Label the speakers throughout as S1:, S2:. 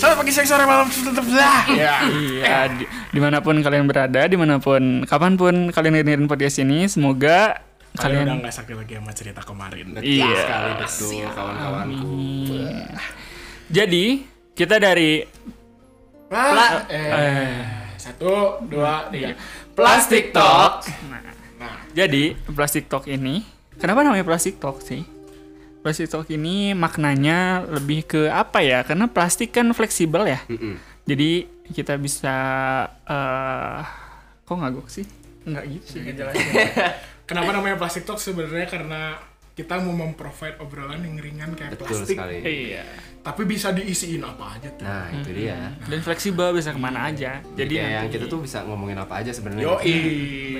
S1: lagi seksore malam lah. Ya.
S2: Iya, di- dimanapun kalian berada, dimanapun, kapanpun kalian dengerin podcast ini, semoga
S1: Kalian udah
S2: kalian,
S1: nggak sakit lagi sama cerita kemarin.
S2: iya.
S3: sekali betul kawan-kawanku.
S2: Jadi kita dari
S1: Nah, eh, satu, dua, tiga. Plastik
S3: Talk.
S2: Nah, jadi plastik talk ini, kenapa namanya plastik talk sih? Plastik talk ini maknanya lebih ke apa ya? Karena plastik kan fleksibel ya.
S3: Mm-mm.
S2: Jadi kita bisa eh kok ngagok sih? Enggak gitu sih.
S1: Kenapa namanya plastik talk sebenarnya karena kita mau memprovide obrolan yang ringan kayak
S3: Betul
S1: plastik,
S3: sekali.
S2: Iya.
S1: tapi bisa diisiin apa aja tuh.
S3: Nah, itu dia.
S2: Dan fleksibel bisa kemana aja. Hmm. Jadi
S3: Jadi yang
S2: nanti-
S3: kita tuh bisa ngomongin apa aja sebenarnya.
S1: Yoi.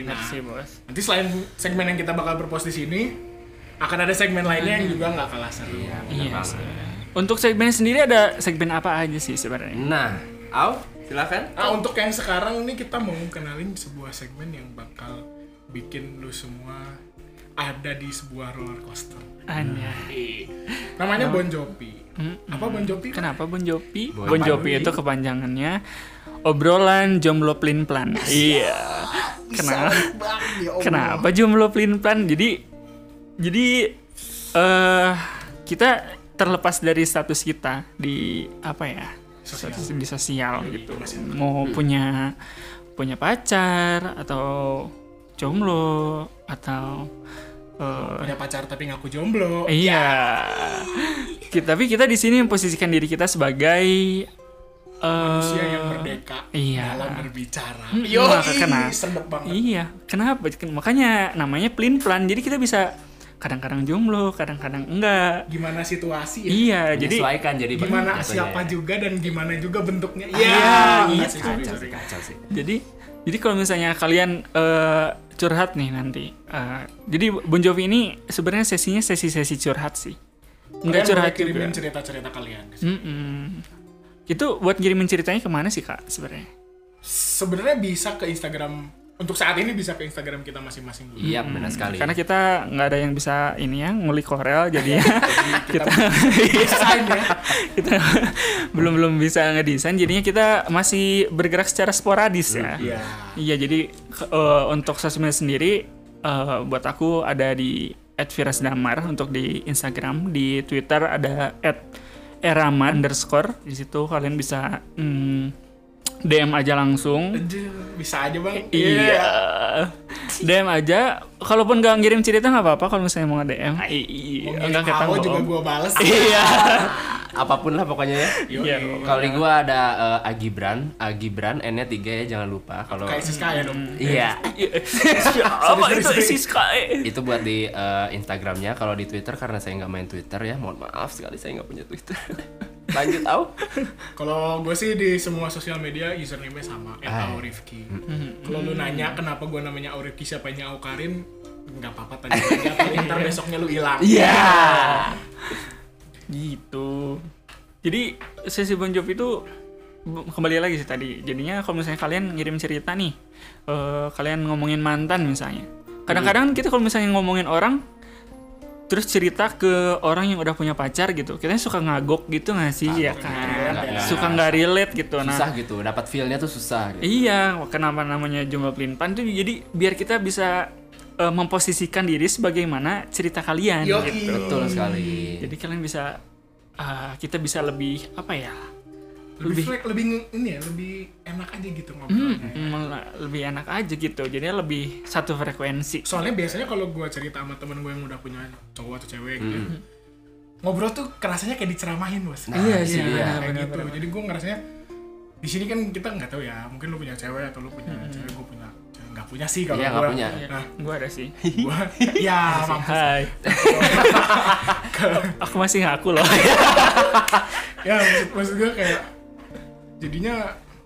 S2: Bener
S1: Nah,
S2: sih bos.
S1: nanti selain segmen yang kita bakal berpost di sini, akan ada segmen lainnya yang juga nggak kalah seru.
S3: Iya, benar
S2: Iya,
S3: banget.
S2: Untuk segmen sendiri ada segmen apa aja sih sebenarnya?
S3: Nah, Au, silakan.
S1: Nah, untuk yang sekarang ini kita mau kenalin sebuah segmen yang bakal bikin lu semua ada di sebuah roller coaster.
S2: Anya.
S1: Namanya
S3: Nah.
S1: Bon Jovi. Apa Bon Jovi?
S2: Kenapa Bon Jovi?
S3: Bon
S2: Bon, Jovi
S1: Jovi.
S2: itu kepanjangannya obrolan jomblo plin plan. Iya. Kenapa?
S1: Ya Oh,
S2: Kenapa jomblo plin plan? Jadi jadi eh kita terlepas dari status kita di apa ya? Status di
S1: Iya,
S2: sosial gitu. Mau
S1: Hmm.
S2: punya punya pacar atau jomblo atau eh,
S1: Punya pacar tapi ngaku jomblo.
S2: Iya. Ki- Tapi kita di sini memposisikan diri kita sebagai eh,
S1: Manusia yang merdeka
S2: iya.
S1: dalam berbicara.
S2: Hmm,
S1: Yo,
S2: maka kena.
S1: sendok banget.
S2: Iya. Kenapa? Ken- Makanya namanya plin plan. Jadi kita bisa kadang-kadang jomblo, kadang-kadang enggak.
S1: Gimana situasi ya?
S2: Iya. Jadi
S3: Menyesuaikan jadi Bang,
S1: Gimana
S3: jatuhnya
S1: siapa
S3: ya.
S1: juga dan gimana juga bentuknya.
S2: iya,
S1: Sorry, sorry,
S3: Kacau
S1: sorry.
S3: sih, kacau sih.
S2: jadi jadi kalau misalnya kalian eh, curhat nih nanti. eh, jadi Bon Jovi ini sebenarnya sesinya sesi-sesi curhat sih. Enggak
S1: Kalian
S2: curhat
S1: boleh
S2: juga.
S1: kirimin cerita-cerita kalian.
S2: Mm-mm. Itu buat ngirimin ceritanya kemana sih kak sebenarnya?
S1: Sebenarnya bisa ke Instagram untuk saat ini bisa ke Instagram kita masing-masing dulu.
S3: Iya, benar sekali.
S2: Hmm, Karena kita nggak ada yang bisa ini ya ngulik Corel jadi kita Iya. kita belum belum bisa ngedesain jadinya kita masih bergerak secara sporadis ya.
S1: Iya.
S2: Iya jadi ke- eh, untuk sosmed sendiri eh, buat aku ada di @virasdamar untuk di Instagram, di Twitter ada @erama underscore di situ kalian bisa mm, DM aja langsung.
S1: Aduh, Bisa aja bang.
S2: Iya. DM aja. Kalaupun nggak ngirim cerita nggak apa-apa kalau misalnya mau nge-DM.
S1: Ah, Mau
S2: Iya.
S1: ngirim
S2: Enggak kita
S1: AO
S2: bohong.
S1: juga gua bales.
S2: Iya.
S3: Apapun lah pokoknya ya.
S2: Iya.
S3: Kalau di gua ada eh, Agibran, Agibran N-nya 3 ya jangan lupa kalau
S1: Kayak Siska ya dong.
S2: Hmm.
S3: Iya,
S2: Apa itu
S1: sorry.
S2: Siska? eh?
S3: itu buat di eh, Instagramnya. Kalau di Twitter karena saya nggak main Twitter ya, mohon maaf sekali saya nggak punya Twitter. Lanjut Au.
S2: Nah.
S1: Kalau gue sih di semua sosial media username-nya sama,
S3: Ah.
S1: @aurifki. Kalau lu nanya kenapa gue namanya Aurifki siapanya Aukarin, nggak apa-apa tanya aja.
S2: Iya.
S1: paling Ntar besoknya lu hilang.
S3: Iya.
S2: Gitu. Jadi sesi Bon Jovi itu b- kembali lagi sih tadi. Jadinya kalau misalnya kalian ngirim cerita nih, eh, kalian ngomongin mantan misalnya.
S1: Iya.
S2: Kadang-kadang kita kalau misalnya ngomongin orang terus cerita ke orang yang udah punya pacar gitu. Kita suka ngagok gitu nggak sih ya kan?
S3: nggak, nggak,
S2: Suka nggak relate gitu. Nah,
S3: Susah gitu, dapat feel-nya tuh susah gitu.
S2: Iya, kenapa namanya jumlah pelimpan tuh jadi biar kita bisa eh, memposisikan diri sebagaimana cerita kalian.
S1: Yoi.
S2: gitu.
S3: Betul sekali.
S2: Jadi kalian bisa eh, kita bisa lebih apa ya?
S1: Lebih
S2: Lebih
S1: flag, lebih nge- ini ya, lebih enak aja gitu
S2: Hmm,
S1: ngobrolnya.
S2: malah lebih enak aja gitu. Jadi lebih satu frekuensi.
S1: Soalnya biasanya kalau gue cerita sama temen gue yang udah punya cowok atau cewek gitu, ngobrol tuh kerasanya kayak diceramahin bos.
S3: Mm-hmm. Nah, Iya
S2: sih, iya,
S1: kayak
S2: benar,
S1: gitu. Jadi gue ngerasanya di sini kan kita nggak tahu ya, mungkin lu punya cewek atau lu punya
S2: Mm-hmm.
S1: cewek, gue punya cewek. nggak punya sih kalau
S3: Iya,
S1: gue.
S3: nggak punya.
S1: Nah,
S2: Gua ada sih.
S1: gue,
S2: Iya
S1: ya mampus.
S2: Hai. Aku masih ngaku loh.
S1: ya maksud, maksud gue kayak jadinya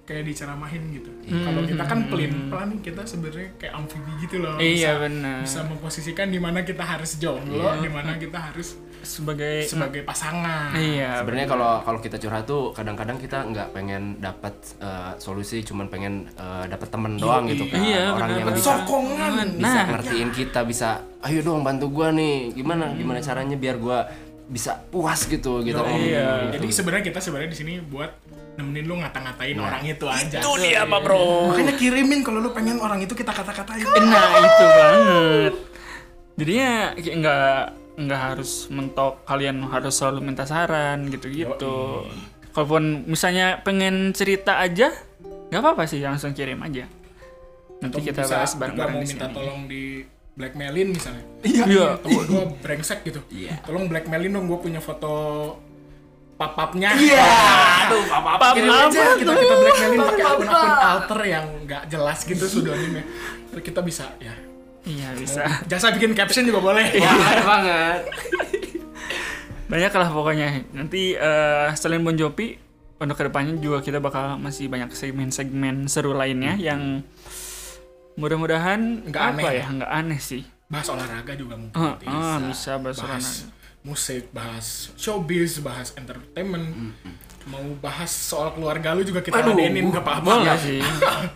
S1: kayak diceramahin gitu.
S2: Hmm.
S1: Kalau kita kan pelin pelan kita sebenarnya kayak amfibi gitu loh.
S2: iya
S1: bisa,
S2: benar. Iya.
S1: bisa memposisikan di mana kita harus jomblo, di mana kita harus
S2: Sebagai
S1: sebagai pasangan.
S2: Iya.
S3: Sebenarnya kalau kalau kita curhat tuh kadang-kadang kita nggak pengen dapat eh, solusi, cuman pengen eh, dapat temen doang gitu kan.
S2: Iya,
S3: Orang yang
S2: benar-benar.
S3: bisa
S1: Sokongan.
S2: Nah. Hmm.
S3: bisa ngertiin kita, bisa ayo dong bantu gua nih. Gimana gimana caranya biar gua bisa puas gitu gitu
S1: Yoi.
S3: ngomongin
S2: iya.
S3: gitu.
S1: Jadi sebenarnya kita sebenarnya di sini buat nemenin lu
S2: Iya.
S1: ngata-ngatain orang itu aja.
S2: Itu dia, Pak Bro.
S1: Makanya kirimin kalau lu pengen orang itu kita kata-katain.
S2: Nah itu banget. Jadinya kayak nggak nggak harus mentok kalian harus selalu minta saran gitu-gitu. Kalaupun misalnya pengen cerita aja, nggak apa-apa sih langsung kirim aja. Nanti
S1: Atau
S2: kita
S1: bisa
S2: bahas
S1: juga
S2: bareng-bareng
S1: mau
S2: di
S1: minta
S2: sini.
S1: tolong di blackmailin misalnya.
S2: Iya.
S1: Temen gua brengsek gitu.
S3: Iya.
S1: Tolong blackmailin dong gua punya foto papapnya.
S3: Aduh, apa-apa.
S2: Pam
S1: Kirim aja
S2: apa
S1: kita
S2: tuh?
S1: kita blackmailin pakai
S3: Papa.
S1: akun-akun alter yang nggak jelas gitu pseudonimnya. Terus kita bisa ya
S2: Iya bisa.
S1: jasa bikin caption juga boleh.
S3: Wah, ada Iya, banget.
S2: Banyak lah pokoknya. Nanti eh, selain Bon Jovi, untuk kedepannya juga kita bakal masih banyak segmen-segmen seru lainnya yang mudah-mudahan
S1: Hmm. Nggak
S2: apa
S1: aneh.
S2: ya nggak aneh sih.
S1: Bahas olahraga juga mungkin.
S2: Ah,
S1: nanti.
S2: ah, bisa bahas olahraga.
S1: bahas musik, bahas showbiz, bahas entertainment, mau bahas soal keluarga lu juga kita
S3: Aduh,
S1: ladenin gak apa-apa.
S2: Boleh sih.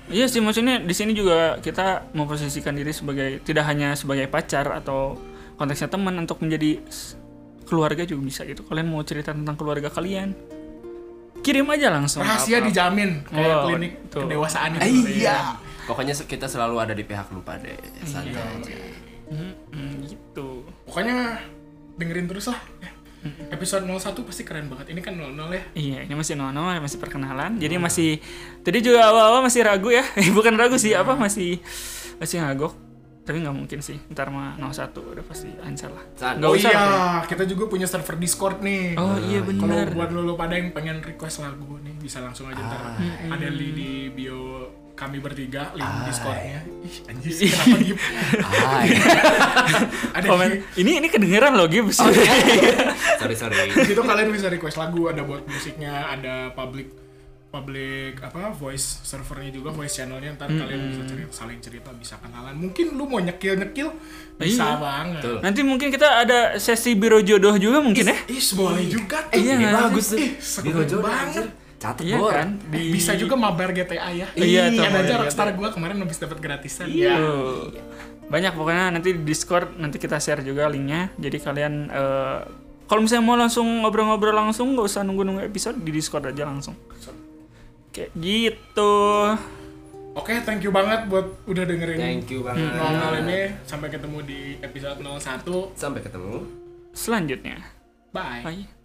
S2: iya sih maksudnya di sini juga kita memposisikan diri sebagai tidak hanya sebagai pacar atau konteksnya teman untuk menjadi s- keluarga juga bisa gitu. Kalian mau cerita tentang keluarga kalian? Kirim aja langsung.
S1: Rahasia
S2: Apa-
S1: dijamin kayak
S2: Oh,
S1: klinik
S2: betul.
S1: kedewasaan itu.
S3: Iya. Pokoknya se- kita selalu ada di pihak lu pada
S2: Iya.
S3: santai aja.
S2: Mm, gitu.
S1: Pokoknya dengerin terus lah. ya. Episode 01 pasti keren banget. Ini kan 00 ya.
S2: Iya, ini masih nono, masih perkenalan. Jadi masih tadi juga awal-awal masih ragu ya. Bukan ragu sih, apa masih masih ngagok. Tapi nggak mungkin sih. Ntar mah 01 udah pasti answer lah.
S3: San.
S2: Nggak
S1: oh
S2: usah.
S1: iya,
S2: lah.
S1: kita juga punya server Discord nih. Nah,
S2: Oh iya
S1: Kalau
S2: benar.
S1: buat lu, lu pada yang pengen request lagu nih bisa langsung aja
S2: Ah.
S1: ntar. Ada link di bio kami bertiga link
S3: Ah, iya.
S1: Discordnya. Ih, anjir, kenapa gitu?
S3: Hai.
S1: Ada
S2: Komen. Oh, iya.
S1: di-
S2: Ini ini kedengeran loh Gibbs.
S3: sorry, sorry.
S1: Di situ kalian bisa request lagu ada buat musiknya ada public public apa voice servernya juga voice channelnya ntar kalian bisa cerita saling cerita bisa kenalan mungkin lu mau nyekil nyekil
S2: Iya.
S1: bisa banget
S3: Betul.
S2: Nanti mungkin kita ada sesi biro jodoh juga mungkin ya.
S1: Ih, boleh juga tuh.
S2: Iya,
S3: Ini
S2: nggak sih?
S3: bagus tuh.
S1: Ih, seru
S3: Biro jodoh,
S1: banget.
S3: anjir. Catet,
S2: Iya
S3: Bor.
S2: kan?
S1: Eh, bisa juga mabar GTA ya.
S2: Iya, tuh,
S1: Kan
S2: mabar
S1: aja
S2: GTA.
S1: Rockstar gua kemarin habis dapat gratisan.
S2: Iya. Tuh. Banyak pokoknya nanti di Discord nanti kita share juga linknya. Jadi kalian eh, kalau misalnya mau langsung ngobrol-ngobrol langsung nggak usah nunggu-nunggu episode di Discord aja langsung. Kayak gitu.
S1: Oke, thank you banget buat udah dengerin
S3: Thank
S2: Hmm.
S3: you banget.
S1: nongol ini. Sampai ketemu di episode 01.
S3: Sampai ketemu.
S2: Selanjutnya.
S1: Bye.
S2: Bye.